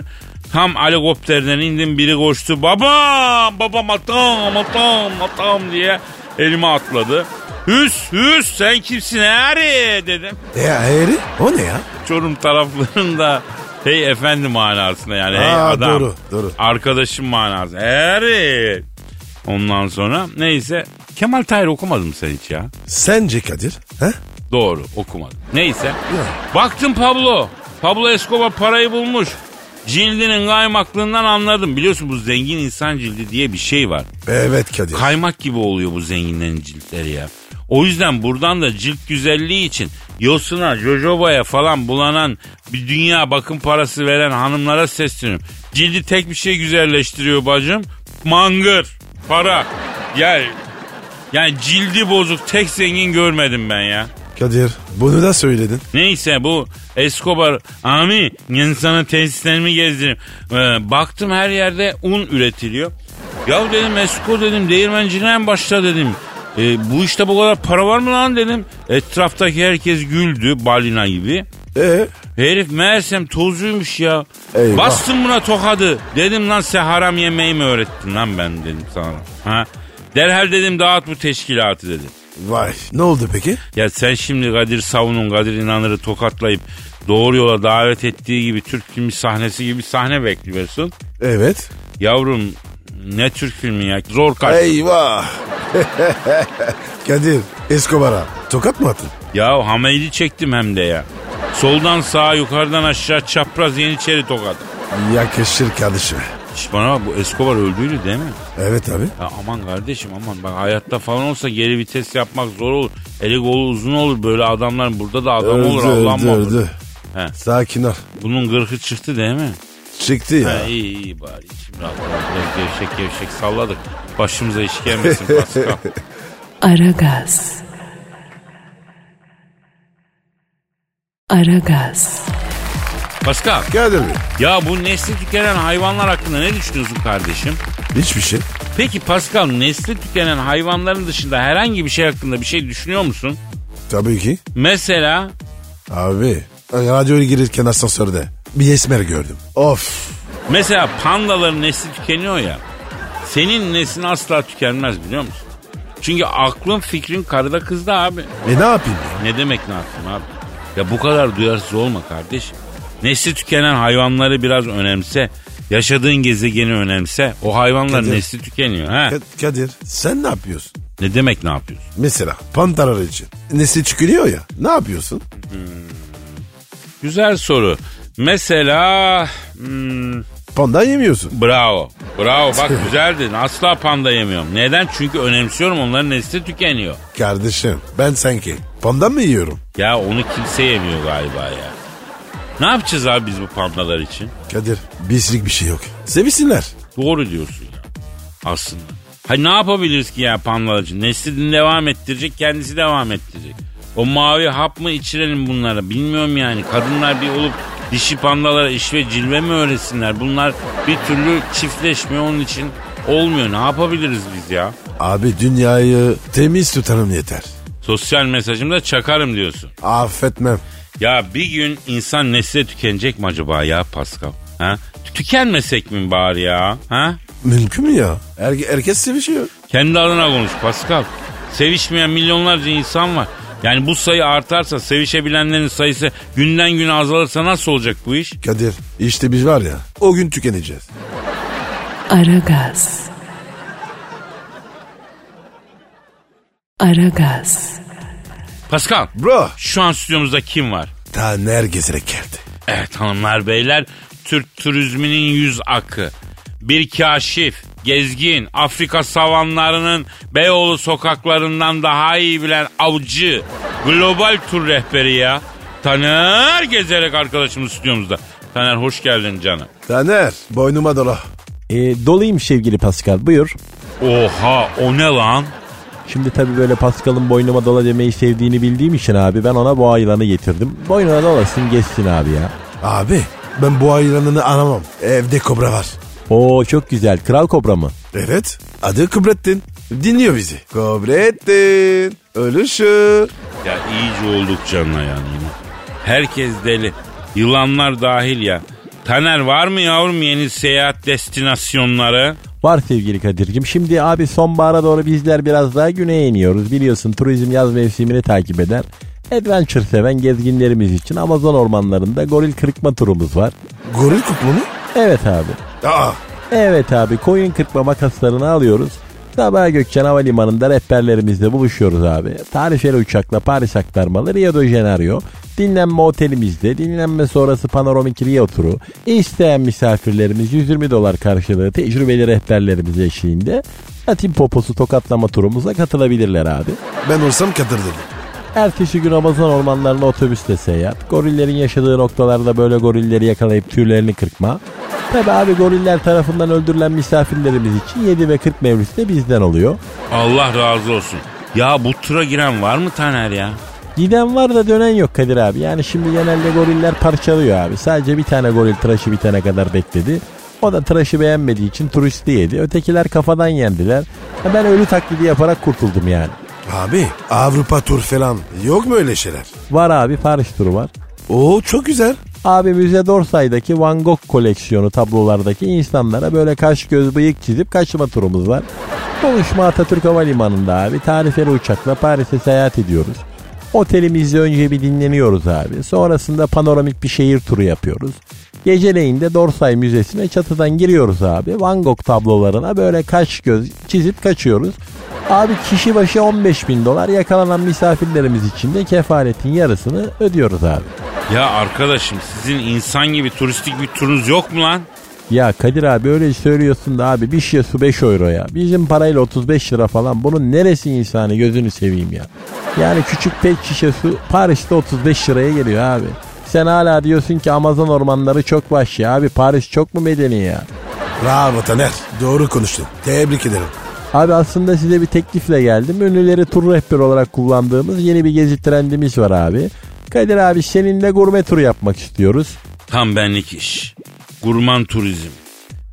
Speaker 2: Tam helikopterden indim biri koştu. Babam babam atam atam atam diye elime atladı. Hüs hüs sen kimsin eri dedim.
Speaker 3: E eğri? O ne ya?
Speaker 2: Çorum taraflarında hey efendi manasında yani hey
Speaker 3: Aa,
Speaker 2: adam.
Speaker 3: doğru, doğru.
Speaker 2: Arkadaşım manası. Eri. Ondan sonra neyse Kemal Tahir okumadım sen hiç ya.
Speaker 3: Sence Kadir? Ha?
Speaker 2: Doğru okumadım. Neyse. Baktım Pablo. Pablo Escobar parayı bulmuş. Cildinin kaymaklığından anladım. Biliyorsun bu zengin insan cildi diye bir şey var.
Speaker 3: Evet Kadir.
Speaker 2: Kaymak gibi oluyor bu zenginlerin ciltleri ya. O yüzden buradan da cilt güzelliği için Yosun'a, Jojoba'ya falan bulanan bir dünya bakım parası veren hanımlara sesleniyorum. Cildi tek bir şey güzelleştiriyor bacım. Mangır, para. Ya, yani cildi bozuk tek zengin görmedim ben ya.
Speaker 3: Kadir bunu da söyledin.
Speaker 2: Neyse bu Escobar ami insana tesislerimi gezdireyim. Ee, baktım her yerde un üretiliyor. Ya dedim Esko dedim değirmenciliğe mi başla dedim. Ee, bu işte bu kadar para var mı lan dedim. Etraftaki herkes güldü balina gibi.
Speaker 3: E
Speaker 2: Herif meğersem tozcuymuş ya.
Speaker 3: Eyvah.
Speaker 2: Bastım buna tokadı. Dedim lan sen haram yemeği mi öğrettin lan ben dedim sana. Ha? Derhal dedim dağıt bu teşkilatı dedim.
Speaker 3: vay ne oldu peki?
Speaker 2: Ya sen şimdi Kadir Savun'un Kadir İnanır'ı tokatlayıp doğru yola davet ettiği gibi Türk filmi sahnesi gibi bir sahne bekliyorsun.
Speaker 3: Evet.
Speaker 2: Yavrum ne Türk filmi ya zor kaç.
Speaker 3: Eyvah. Kadir Escobar'a tokat mı attın?
Speaker 2: Ya hameyli çektim hem de ya. Soldan sağa yukarıdan aşağı çapraz yeniçeri tokat.
Speaker 3: Yakışır kardeşim.
Speaker 2: Şş bana bak bu Escobar öldüydü değil mi?
Speaker 3: Evet abi.
Speaker 2: Ya aman kardeşim aman bak hayatta falan olsa geri vites yapmak zor olur. Eli kolu uzun olur böyle adamlar burada da adam olur
Speaker 3: öldü
Speaker 2: Allah'ım olur.
Speaker 3: öldü.
Speaker 2: He.
Speaker 3: Sakin ol.
Speaker 2: Bunun gırkı çıktı değil mi?
Speaker 3: Çıktı ya.
Speaker 2: Ha, iyi iyi bari. Şimdi rahat rahat biraz gevşek gevşek salladık. Başımıza iş gelmesin Pascal.
Speaker 1: Aragaz. Aragaz.
Speaker 2: Pascal
Speaker 3: Kadir Bey
Speaker 2: ya bu nesli tükenen hayvanlar hakkında ne düşünüyorsun kardeşim?
Speaker 3: hiçbir şey.
Speaker 2: Peki Pascal nesli tükenen hayvanların dışında herhangi bir şey hakkında bir şey düşünüyor musun?
Speaker 3: Tabii ki.
Speaker 2: Mesela
Speaker 3: Abi radyoya girirken asansörde bir esmer gördüm. Of.
Speaker 2: mesela pandaların nesli tükeniyor ya. Senin neslin asla tükenmez biliyor musun? Çünkü aklın fikrin karıda kızda abi.
Speaker 3: E ne yapayım ya?
Speaker 2: Ne demek ne yaptım abi? Ya bu kadar duyarsız olma kardeşim. Nesli tükenen hayvanları biraz önemse. Yaşadığın gezegeni önemse. O hayvanlar
Speaker 3: Kadir.
Speaker 2: nesli tükeniyor. Ha?
Speaker 3: Ka- Kadir sen ne yapıyorsun?
Speaker 2: Ne demek ne yapıyorsun?
Speaker 3: Mesela pantarar için. Nesi çıkılıyor ya. Ne yapıyorsun?
Speaker 2: Güzel soru. Mesela hmm,
Speaker 3: Panda yemiyorsun.
Speaker 2: bravo. Bravo bak güzeldin. Asla panda yemiyorum. Neden? Çünkü önemsiyorum onların nesli tükeniyor.
Speaker 3: Kardeşim ben sanki panda mı yiyorum?
Speaker 2: Ya onu kimse yemiyor galiba ya. Ne yapacağız abi biz bu pandalar için?
Speaker 3: Kadir bizlik bir şey yok. Sevisinler.
Speaker 2: Doğru diyorsun ya. Aslında. Ha ne yapabiliriz ki ya pandalar için? Neslini devam ettirecek, kendisi devam ettirecek. O mavi hap mı içirelim bunlara? Bilmiyorum yani. Kadınlar bir olup dişi pandalara iş ve cilve mi öğretsinler? Bunlar bir türlü çiftleşmiyor onun için olmuyor. Ne yapabiliriz biz ya?
Speaker 3: Abi dünyayı temiz tutalım yeter.
Speaker 2: Sosyal mesajımda çakarım diyorsun.
Speaker 3: Affetmem.
Speaker 2: Ya bir gün insan nesle tükenecek mi acaba ya Pascal? Ha? Tükenmesek mi bari ya? Ha?
Speaker 3: Mümkün mü ya? Her- herkes sevişiyor.
Speaker 2: Kendi adına konuş Pascal. Sevişmeyen milyonlarca insan var. Yani bu sayı artarsa, sevişebilenlerin sayısı günden güne azalırsa nasıl olacak bu iş?
Speaker 3: Kadir işte biz var ya o gün tükeneceğiz.
Speaker 1: Aragaz. Aragaz.
Speaker 2: Pascal,
Speaker 3: Bro.
Speaker 2: şu an stüdyomuzda kim var?
Speaker 3: Taner gezerek geldi.
Speaker 2: Evet hanımlar beyler, Türk turizminin yüz akı. Bir kaşif, gezgin, Afrika savanlarının Beyoğlu sokaklarından daha iyi bilen avcı, global tur rehberi ya. Taner gezerek arkadaşımız stüdyomuzda. Taner hoş geldin canım.
Speaker 3: Taner boynuma dola.
Speaker 4: E, dolayım sevgili Pascal buyur.
Speaker 2: Oha o ne lan?
Speaker 4: Şimdi tabii böyle Pascal'ın boynuma dola demeyi sevdiğini bildiğim için abi ben ona bu ayılanı getirdim. Boynuna dolasın geçsin abi ya.
Speaker 3: Abi ben bu ayranını aramam. Evde kobra var.
Speaker 4: Oo çok güzel. Kral kobra mı?
Speaker 3: Evet adı Kıbrettin. Dinliyor bizi. Kıbrettin. Ölüşü.
Speaker 2: Ya iyice olduk canına yani. yine. Herkes deli. Yılanlar dahil ya. Taner var mı yavrum yeni seyahat destinasyonları?
Speaker 4: Var sevgili Kadir'cim. Şimdi abi sonbahara doğru bizler biraz daha güneye iniyoruz. Biliyorsun turizm yaz mevsimini takip eder. Adventure seven gezginlerimiz için Amazon ormanlarında goril kırıkma turumuz var.
Speaker 3: Goril kutlu mu?
Speaker 4: Evet abi.
Speaker 3: Aa.
Speaker 4: Evet abi koyun kırpma makaslarını alıyoruz. Sabah Gökçen Havalimanı'nda rehberlerimizle buluşuyoruz abi. Tarifeli uçakla Paris aktarmalı Rio de Janeiro. Dinlenme otelimizde, dinlenme sonrası panoramik Rio turu. İsteyen misafirlerimiz 120 dolar karşılığı tecrübeli rehberlerimiz eşliğinde Atim poposu tokatlama turumuza katılabilirler abi.
Speaker 3: Ben olsam Kadir dedim.
Speaker 4: Ertesi gün Amazon ormanlarına otobüsle seyahat. Gorillerin yaşadığı noktalarda böyle gorilleri yakalayıp tüylerini kırkma. Tabi abi goriller tarafından öldürülen misafirlerimiz için 7 ve 40 mevlüt de bizden oluyor.
Speaker 2: Allah razı olsun. Ya bu tura giren var mı Taner ya?
Speaker 4: Giden var da dönen yok Kadir abi. Yani şimdi genelde goriller parçalıyor abi. Sadece bir tane goril tıraşı bitene kadar bekledi. O da tıraşı beğenmediği için turisti yedi. Ötekiler kafadan yendiler. Ha Ben ölü taklidi yaparak kurtuldum yani.
Speaker 3: Abi Avrupa tur falan yok mu öyle şeyler?
Speaker 4: Var abi Paris turu var.
Speaker 3: Oo çok güzel.
Speaker 4: Abi Müze Dorsay'daki Van Gogh koleksiyonu tablolardaki insanlara böyle kaş göz bıyık çizip kaçma turumuz var. Buluşma Atatürk Havalimanı'nda abi tarifeli uçakla Paris'e seyahat ediyoruz. Otelimizde önce bir dinleniyoruz abi. Sonrasında panoramik bir şehir turu yapıyoruz. Geceleyin de Dorsay Müzesi'ne çatıdan giriyoruz abi. Van Gogh tablolarına böyle kaş göz çizip kaçıyoruz. Abi kişi başı 15 bin dolar yakalanan misafirlerimiz için de kefaletin yarısını ödüyoruz abi.
Speaker 2: Ya arkadaşım sizin insan gibi turistik bir turunuz yok mu lan?
Speaker 4: Ya Kadir abi öyle söylüyorsun da abi bir şişe su 5 euro ya. Bizim parayla 35 lira falan bunun neresi insanı gözünü seveyim ya. Yani küçük pet şişe su Paris'te 35 liraya geliyor abi. Sen hala diyorsun ki Amazon ormanları çok vahşi abi Paris çok mu medeni ya?
Speaker 3: Bravo Taner. Doğru konuştun. Tebrik ederim.
Speaker 4: Abi aslında size bir teklifle geldim. Ünlüleri tur rehberi olarak kullandığımız yeni bir gezi trendimiz var abi. Kadir abi seninle gurme turu yapmak istiyoruz.
Speaker 2: Tam benlik iş. Gurman turizm.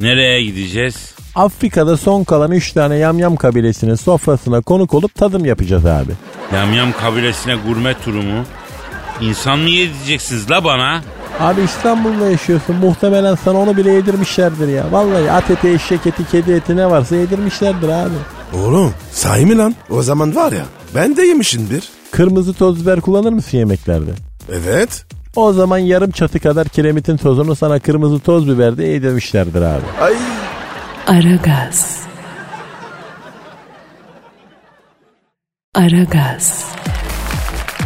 Speaker 2: Nereye gideceğiz?
Speaker 4: Afrika'da son kalan 3 tane yamyam kabilesinin sofrasına konuk olup tadım yapacağız abi.
Speaker 2: Yamyam kabilesine gurme turu mu? İnsan mı yedireceksin la bana?
Speaker 4: Abi İstanbul'da yaşıyorsun. Muhtemelen sana onu bile yedirmişlerdir ya. Vallahi at eti, eşek eti, kedi eti ne varsa yedirmişlerdir abi.
Speaker 3: Oğlum sahi mi lan? O zaman var ya ben de yemişimdir.
Speaker 4: Kırmızı toz biber kullanır mısın yemeklerde?
Speaker 3: Evet.
Speaker 4: O zaman yarım çatı kadar kiremitin tozunu sana kırmızı toz biber de yedirmişlerdir abi.
Speaker 3: Ay
Speaker 1: Aragaz. Aragaz.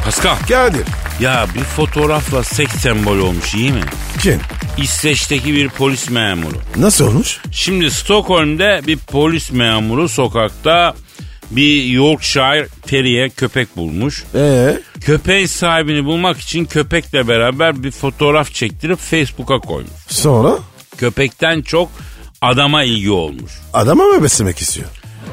Speaker 2: Pascal
Speaker 3: Kadir.
Speaker 2: ya bir fotoğrafla seks sembolü olmuş iyi mi?
Speaker 3: Kim?
Speaker 2: İsveç'teki bir polis memuru.
Speaker 3: Nasıl olmuş?
Speaker 2: Şimdi Stockholm'de bir polis memuru sokakta bir Yorkshire Terrier köpek bulmuş.
Speaker 3: Ee,
Speaker 2: Köpeğin sahibini bulmak için köpekle beraber bir fotoğraf çektirip Facebook'a koymuş.
Speaker 3: sonra
Speaker 2: Köpekten çok adama ilgi olmuş.
Speaker 3: adama mı beslemek istiyor?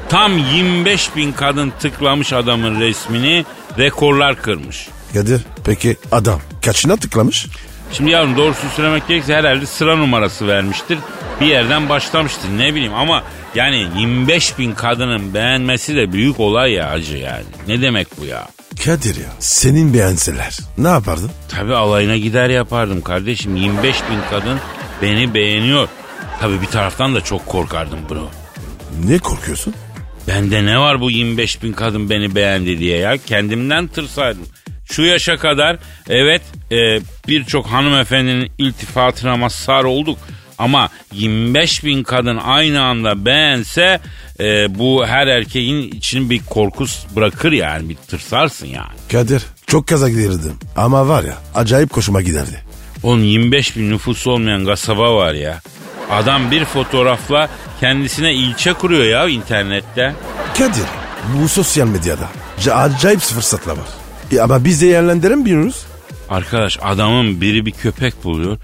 Speaker 2: Tam 25 bin kadın tıklamış adamın resmini rekorlar kırmış.
Speaker 3: Kadir peki adam kaçına tıklamış?
Speaker 2: Şimdi yavrum doğrusunu söylemek gerekirse herhalde sıra numarası vermiştir. Bir yerden başlamıştır ne bileyim ama yani 25 bin kadının beğenmesi de büyük olay ya acı yani. Ne demek bu ya?
Speaker 3: Kadir ya senin beğenseler ne yapardın?
Speaker 2: Tabii alayına gider yapardım kardeşim. 25 bin kadın beni beğeniyor. Tabii bir taraftan da çok korkardım bro.
Speaker 3: Niye korkuyorsun?
Speaker 2: Bende ne var bu 25 bin kadın beni beğendi diye ya. Kendimden tırsaydım. Şu yaşa kadar evet e, birçok hanımefendinin iltifatına mazhar olduk. Ama 25 bin kadın aynı anda beğense e, bu her erkeğin için bir korku bırakır yani bir tırsarsın yani.
Speaker 3: Kadir çok kaza giderdim ama var ya acayip koşuma giderdi.
Speaker 2: Oğlum 25 bin nüfusu olmayan kasaba var ya. Adam bir fotoğrafla kendisine ilçe kuruyor ya internette.
Speaker 3: Kadir bu sosyal medyada ca- acayip fırsatlar var. E ama biz de yerlendirelim biliyoruz.
Speaker 2: Arkadaş adamın biri bir köpek buluyor.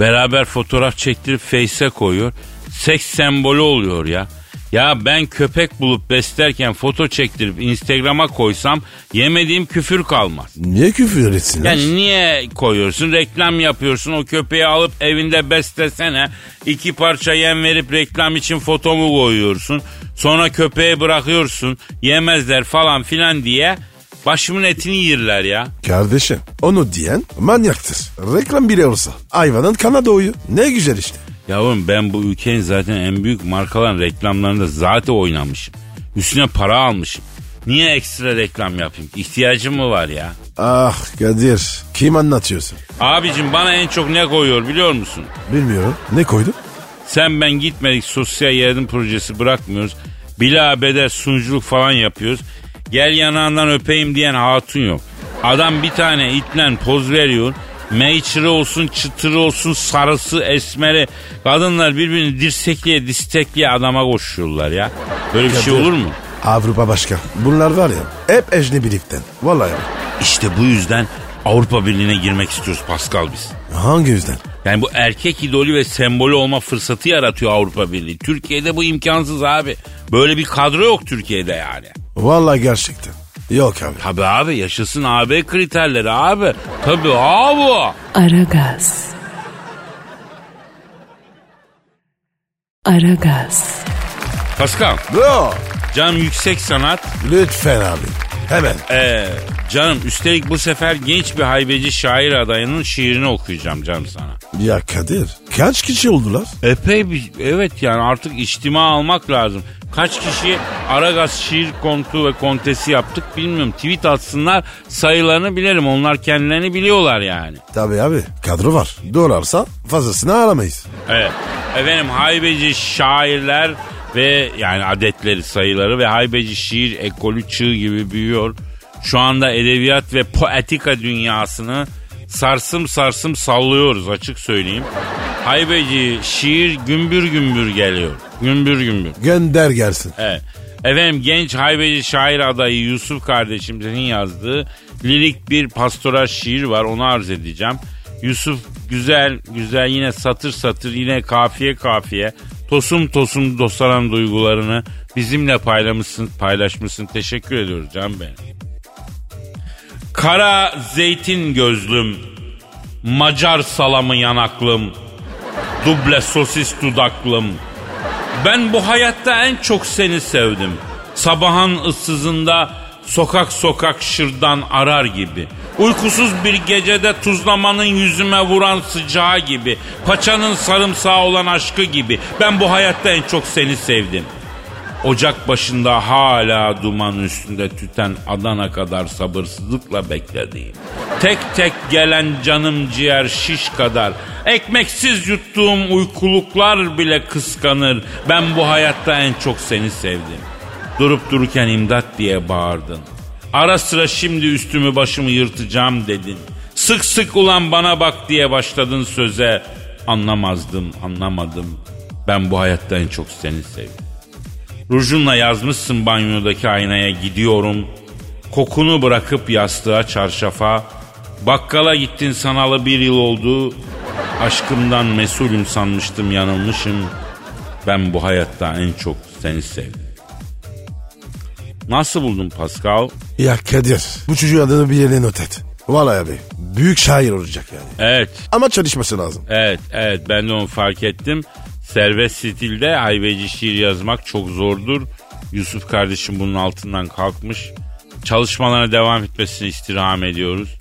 Speaker 2: Beraber fotoğraf çektirip face'e koyuyor. Seks sembolü oluyor ya. Ya ben köpek bulup beslerken foto çektirip Instagram'a koysam yemediğim küfür kalmaz.
Speaker 3: Niye küfür etsinler?
Speaker 2: Yani niye koyuyorsun? Reklam yapıyorsun. O köpeği alıp evinde beslesene. İki parça yem verip reklam için fotomu koyuyorsun. Sonra köpeği bırakıyorsun. Yemezler falan filan diye. Başımın etini yerler ya.
Speaker 3: Kardeşim onu diyen manyaktır. Reklam bile olsa. Hayvanın kana doğuyor. Ne güzel işte.
Speaker 2: Yavrum ben bu ülkenin zaten en büyük markaların reklamlarında zaten oynamışım. Üstüne para almışım. Niye ekstra reklam yapayım? İhtiyacım mı var ya?
Speaker 3: Ah Kadir kim anlatıyorsun?
Speaker 2: Abicim bana en çok ne koyuyor biliyor musun?
Speaker 3: Bilmiyorum. Ne koydun?
Speaker 2: Sen ben gitmedik sosyal yardım projesi bırakmıyoruz. Bila bedel sunuculuk falan yapıyoruz. Gel yanağından öpeyim diyen hatun yok. Adam bir tane itlen poz veriyor. Meyçiri olsun, çıtırı olsun, sarısı, esmeri. Kadınlar birbirini dirsekliye, distekliye adama koşuyorlar ya. Böyle bir şey olur mu?
Speaker 3: Avrupa başka. Bunlar var ya hep ecnebilikten. Vallahi.
Speaker 2: İşte bu yüzden Avrupa Birliği'ne girmek istiyoruz Pascal biz.
Speaker 3: Hangi yüzden?
Speaker 2: Yani bu erkek idolü ve sembolü olma fırsatı yaratıyor Avrupa Birliği. Türkiye'de bu imkansız abi. Böyle bir kadro yok Türkiye'de yani.
Speaker 3: Vallahi gerçekten. Yok abi.
Speaker 2: Tabii abi yaşasın AB kriterleri abi. Tabii abi.
Speaker 1: Aragaz. Aragaz.
Speaker 2: Pascal,
Speaker 3: Bro
Speaker 2: canım yüksek sanat.
Speaker 3: lütfen abi. Hemen.
Speaker 2: Ee, canım üstelik bu sefer genç bir haybeci şair adayının şiirini okuyacağım canım sana.
Speaker 3: Ya Kadir kaç kişi oldular?
Speaker 2: Epey bir, evet yani artık içtima almak lazım. Kaç kişi Aragaz şiir kontu ve kontesi yaptık bilmiyorum. Tweet atsınlar sayılarını bilelim. Onlar kendilerini biliyorlar yani.
Speaker 3: Tabii abi kadro var. Dolarsa fazlasını aramayız.
Speaker 2: Evet. Efendim haybeci şairler ve yani adetleri sayıları ve haybeci şiir ekolü çığ gibi büyüyor. Şu anda edebiyat ve poetika dünyasını sarsım sarsım sallıyoruz açık söyleyeyim. Haybeci şiir gümbür gümbür geliyor. Gümbür gümbür.
Speaker 3: Gönder gelsin.
Speaker 2: Evet. Efendim genç haybeci şair adayı Yusuf kardeşimizin yazdığı lirik bir pastoral şiir var onu arz edeceğim. Yusuf güzel güzel yine satır satır yine kafiye kafiye tosum tosum dosaran duygularını bizimle paylaşmışsın, paylaşmışsın. Teşekkür ediyoruz canım benim. Kara zeytin gözlüm, Macar salamı yanaklım, duble sosis dudaklım. Ben bu hayatta en çok seni sevdim. Sabahın ıssızında sokak sokak şırdan arar gibi. Uykusuz bir gecede tuzlamanın yüzüme vuran sıcağı gibi. Paçanın sarımsağı olan aşkı gibi. Ben bu hayatta en çok seni sevdim. Ocak başında hala duman üstünde tüten Adana kadar sabırsızlıkla beklediğim. Tek tek gelen canım ciğer şiş kadar. Ekmeksiz yuttuğum uykuluklar bile kıskanır. Ben bu hayatta en çok seni sevdim. Durup dururken imdat diye bağırdın. Ara sıra şimdi üstümü başımı yırtacağım dedin. Sık sık ulan bana bak diye başladın söze. Anlamazdım, anlamadım. Ben bu hayatta en çok seni sevdim. Rujunla yazmışsın banyodaki aynaya gidiyorum. Kokunu bırakıp yastığa çarşafa. Bakkala gittin sanalı bir yıl oldu. Aşkımdan mesulüm sanmıştım yanılmışım. Ben bu hayatta en çok seni sevdim. Nasıl buldun Pascal?
Speaker 3: Ya Kadir bu çocuğun adını bir yere not et. Vallahi abi büyük şair olacak yani.
Speaker 2: Evet,
Speaker 3: Ama çalışması lazım.
Speaker 2: evet, evet. Ben de onu fark ettim. Serbest stilde hayveci şiir yazmak çok zordur. Yusuf kardeşim bunun altından kalkmış. Çalışmalarına devam etmesini istirham ediyoruz.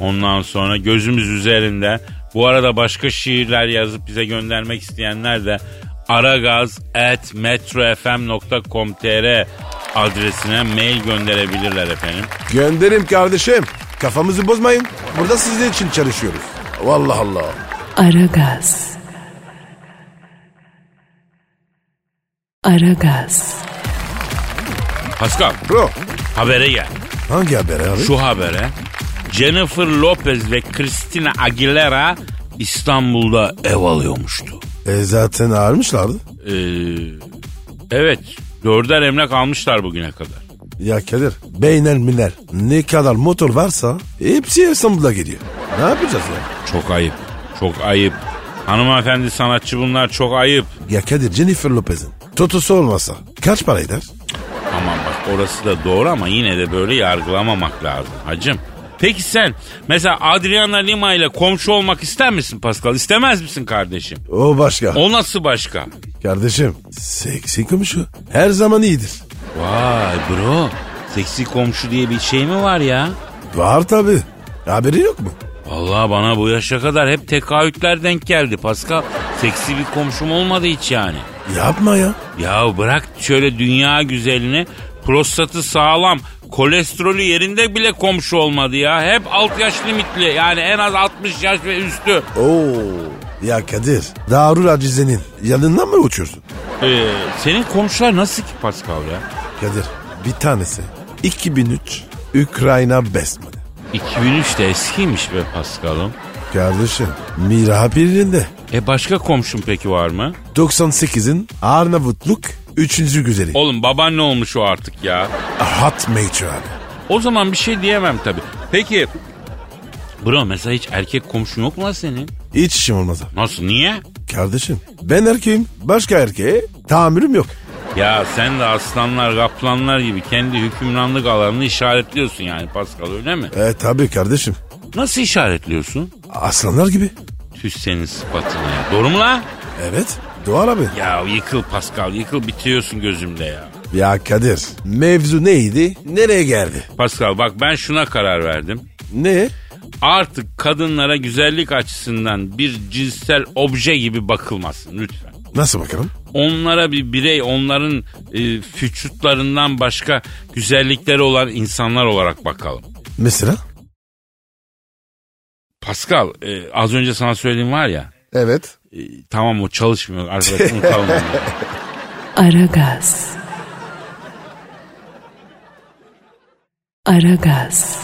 Speaker 2: Ondan sonra gözümüz üzerinde. Bu arada başka şiirler yazıp bize göndermek isteyenler de aragaz.metrofm.com.tr adresine mail gönderebilirler efendim.
Speaker 3: Gönderim kardeşim. Kafamızı bozmayın. Burada sizin için çalışıyoruz. Vallahi Allah.
Speaker 1: Aragaz. Aragaz.
Speaker 2: Pascal
Speaker 3: Bro
Speaker 2: habere gel.
Speaker 3: hangi haber abi?
Speaker 2: Şu habere Jennifer Lopez ve Christina Aguilera İstanbul'da ev alıyormuştu.
Speaker 3: E, zaten ağırmışlardı.
Speaker 2: Ee, evet dörder emlak almışlar bugüne kadar.
Speaker 3: Ya Kadir beynel miner ne kadar motor varsa hepsi İstanbul'a gidiyor. Ne yapacağız ya?
Speaker 2: Çok ayıp çok ayıp. Hanımefendi sanatçı bunlar çok ayıp.
Speaker 3: Ya Kadir Jennifer Lopez'in totosu olmasa kaç para eder?
Speaker 2: Aman bak orası da doğru ama yine de böyle yargılamamak lazım hacım. Peki sen mesela Adriana Lima ile komşu olmak ister misin Pascal? İstemez misin kardeşim?
Speaker 3: O başka.
Speaker 2: O nasıl başka?
Speaker 3: Kardeşim seksi komşu her zaman iyidir.
Speaker 2: Vay bro. Seksi komşu diye bir şey mi var ya?
Speaker 3: Var tabi. Haberi yok mu?
Speaker 2: Vallahi bana bu yaşa kadar hep tekaütler denk geldi Pascal. Seksi bir komşum olmadı hiç yani.
Speaker 3: Yapma ya.
Speaker 2: Ya bırak şöyle dünya güzelini prostatı sağlam kolesterolü yerinde bile komşu olmadı ya. Hep alt yaş limitli yani en az 60 yaş ve üstü.
Speaker 3: Oo. Ya Kadir. Darul Acize'nin yanından mı uçuyorsun?
Speaker 2: Ee, senin komşular nasıl ki Pascal ya?
Speaker 3: Kadir bir tanesi 2003 Ukrayna Bestman'ı.
Speaker 2: 2003 de eskiymiş be Pascal'ım.
Speaker 3: Kardeşim Mira birinde.
Speaker 2: E başka komşum peki var mı?
Speaker 3: 98'in Arnavutluk 3. güzeli.
Speaker 2: Oğlum baban ne olmuş o artık ya?
Speaker 3: Hot Major abi.
Speaker 2: O zaman bir şey diyemem tabii. Peki Bro mesela hiç erkek komşun yok mu lan senin?
Speaker 3: Hiç işim olmaz abi.
Speaker 2: Nasıl niye?
Speaker 3: Kardeşim ben erkeğim. Başka erkeğe tahammülüm yok.
Speaker 2: Ya sen de aslanlar kaplanlar gibi kendi hükümranlık alanını işaretliyorsun yani Pascal öyle mi?
Speaker 3: E tabi kardeşim.
Speaker 2: Nasıl işaretliyorsun?
Speaker 3: Aslanlar gibi.
Speaker 2: Tüh senin sıfatına ya. Doğru mu lan?
Speaker 3: Evet. Doğan abi.
Speaker 2: Ya yıkıl Pascal yıkıl bitiyorsun gözümde ya.
Speaker 3: Ya Kadir mevzu neydi? Nereye geldi?
Speaker 2: Pascal bak ben şuna karar verdim.
Speaker 3: Ne?
Speaker 2: Artık kadınlara güzellik açısından bir cinsel obje gibi bakılmasın lütfen.
Speaker 3: Nasıl bakalım?
Speaker 2: Onlara bir birey, onların e, füçutlarından başka güzellikleri olan insanlar olarak bakalım.
Speaker 3: Mesela?
Speaker 2: Pascal, e, az önce sana söylediğim var ya,
Speaker 3: Evet.
Speaker 2: e, tamam o çalışmıyor arkadaş unutalım onu.
Speaker 1: Aragaz. Aragaz.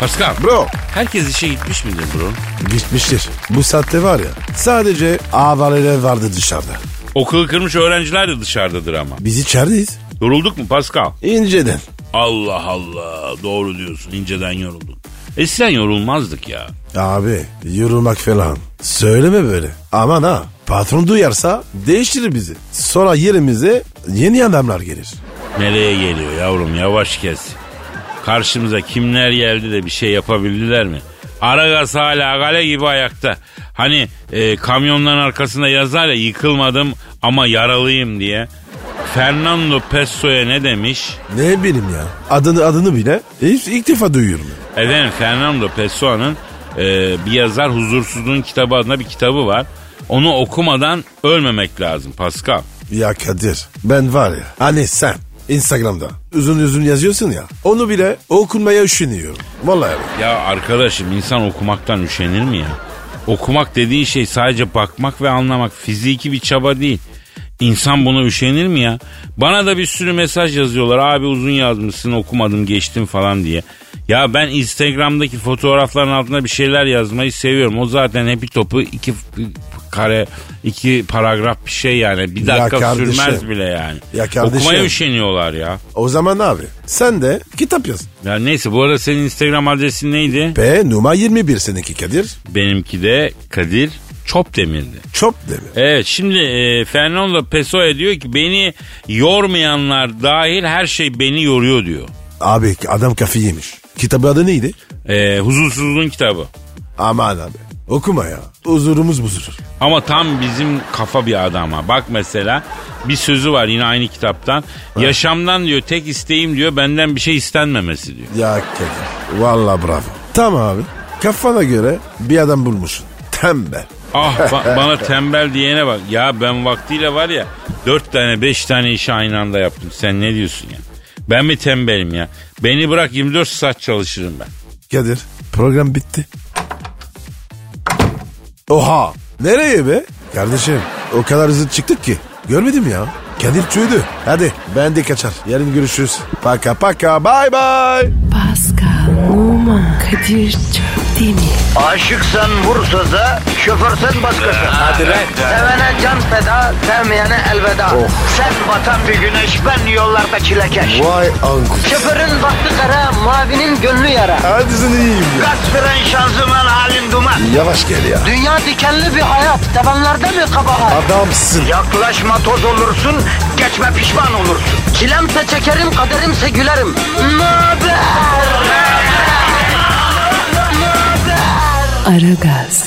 Speaker 2: Pascal,
Speaker 3: Bro.
Speaker 2: herkes işe gitmiş midir bro?
Speaker 3: Gitmiştir. Bu saatte var ya sadece avareler vardı dışarıda.
Speaker 2: Okulu kırmış öğrenciler de dışarıdadır ama.
Speaker 3: Biz içerideyiz.
Speaker 2: Yorulduk mu Pascal?
Speaker 3: İnceden.
Speaker 2: Allah Allah, doğru diyorsun inceden yorulduk. Eskiden E yorulmazdık ya.
Speaker 3: Abi yorulmak falan. Söyleme böyle. Aman ha patron duyarsa değiştirir bizi. Sonra yerimize yeni adamlar gelir.
Speaker 2: Nereye geliyor yavrum yavaş kes. Karşımıza kimler geldi de bir şey yapabildiler mi? Aragaz hala kale gibi ayakta. Hani e, kamyonların arkasında yazar ya yıkılmadım ama yaralıyım diye. Fernando Pessoa'ya ne demiş?
Speaker 3: Ne bileyim ya. Adını adını bile ilk, ilk defa duyuyorum.
Speaker 2: Efendim E, Fernando Pessoa'nın e, bir yazar Huzursuzluğun kitabı adına bir kitabı var. Onu okumadan ölmemek lazım Pascal.
Speaker 3: Ya Kadir ben var ya hani sen Instagram'da uzun uzun yazıyorsun ya onu bile okunmaya üşeniyorum. Vallahi abi.
Speaker 2: Ya arkadaşım insan okumaktan üşenir mi ya? Okumak dediğin şey sadece bakmak ve anlamak fiziki bir çaba değil. İnsan buna üşenir mi ya? Bana da bir sürü mesaj yazıyorlar. Abi uzun yazmışsın okumadım geçtim falan diye. Ya ben Instagram'daki fotoğrafların altına bir şeyler yazmayı seviyorum. O zaten hepi topu iki f- kare, iki paragraf bir şey yani. Bir
Speaker 3: Ya
Speaker 2: dakika
Speaker 3: kardeşim.
Speaker 2: sürmez bile yani.
Speaker 3: Ya kardeşim.
Speaker 2: Okumaya üşeniyorlar ya.
Speaker 3: O zaman abi sen de kitap yaz.
Speaker 2: Ya neyse bu arada senin Instagram adresin neydi?
Speaker 3: P numara 21 seninki Kadir.
Speaker 2: Benimki de Kadir Çopdemir'di.
Speaker 3: Çok değil mi?
Speaker 2: Evet şimdi e, Fernando Pessoa diyor ki beni yormayanlar dahil her şey beni yoruyor diyor.
Speaker 3: Abi adam kafayı yemiş. Kitabı adı neydi?
Speaker 2: E, huzursuzluğun kitabı.
Speaker 3: Aman abi okuma ya. Huzurumuz bozulur.
Speaker 2: Ama tam bizim kafa bir adama. Bak mesela bir sözü var yine aynı kitaptan. Yaşamdan diyor tek isteğim diyor benden bir şey istenmemesi diyor.
Speaker 3: Ya Kadir valla bravo. Tamam abi kafana göre bir adam bulmuşsun. Tembel.
Speaker 2: Ah ba- bana tembel diyene bak. Ya ben vaktiyle var ya dört tane beş tane işi aynı anda yaptım. Sen ne diyorsun ya? Ben mi tembelim ya? Beni bırak 24 saat çalışırım ben.
Speaker 3: Kadir program bitti. Oha nereye be? Kardeşim o kadar hızlı çıktık ki. Görmedim ya. Kadir tüydü. Hadi ben de kaçar. Yarın görüşürüz. Paka paka bye bye.
Speaker 1: Pascal, Oman, Kadir çok değil mi?
Speaker 5: Aşıksan vursa da, şoförsen başkasın. Hadi
Speaker 3: lan.
Speaker 5: Sevene can feda, sevmeyene elveda. Sen batan bir güneş, ben yollarda çilekeş.
Speaker 3: Vay anku.
Speaker 5: Şoförün baktı kara, mavinin gönlü yara.
Speaker 3: Hadi sen iyiyim ya.
Speaker 5: Kasperen şanzıman halin duman.
Speaker 3: Yavaş gel ya.
Speaker 5: Dünya dikenli bir hayat, sevenlerde mi kabahar?
Speaker 3: Adamsın.
Speaker 5: Yaklaşma toz olursun, geçme pişman olursun. Çilemse çekerim, kaderimse gülerim. Möber!
Speaker 1: Aragaz.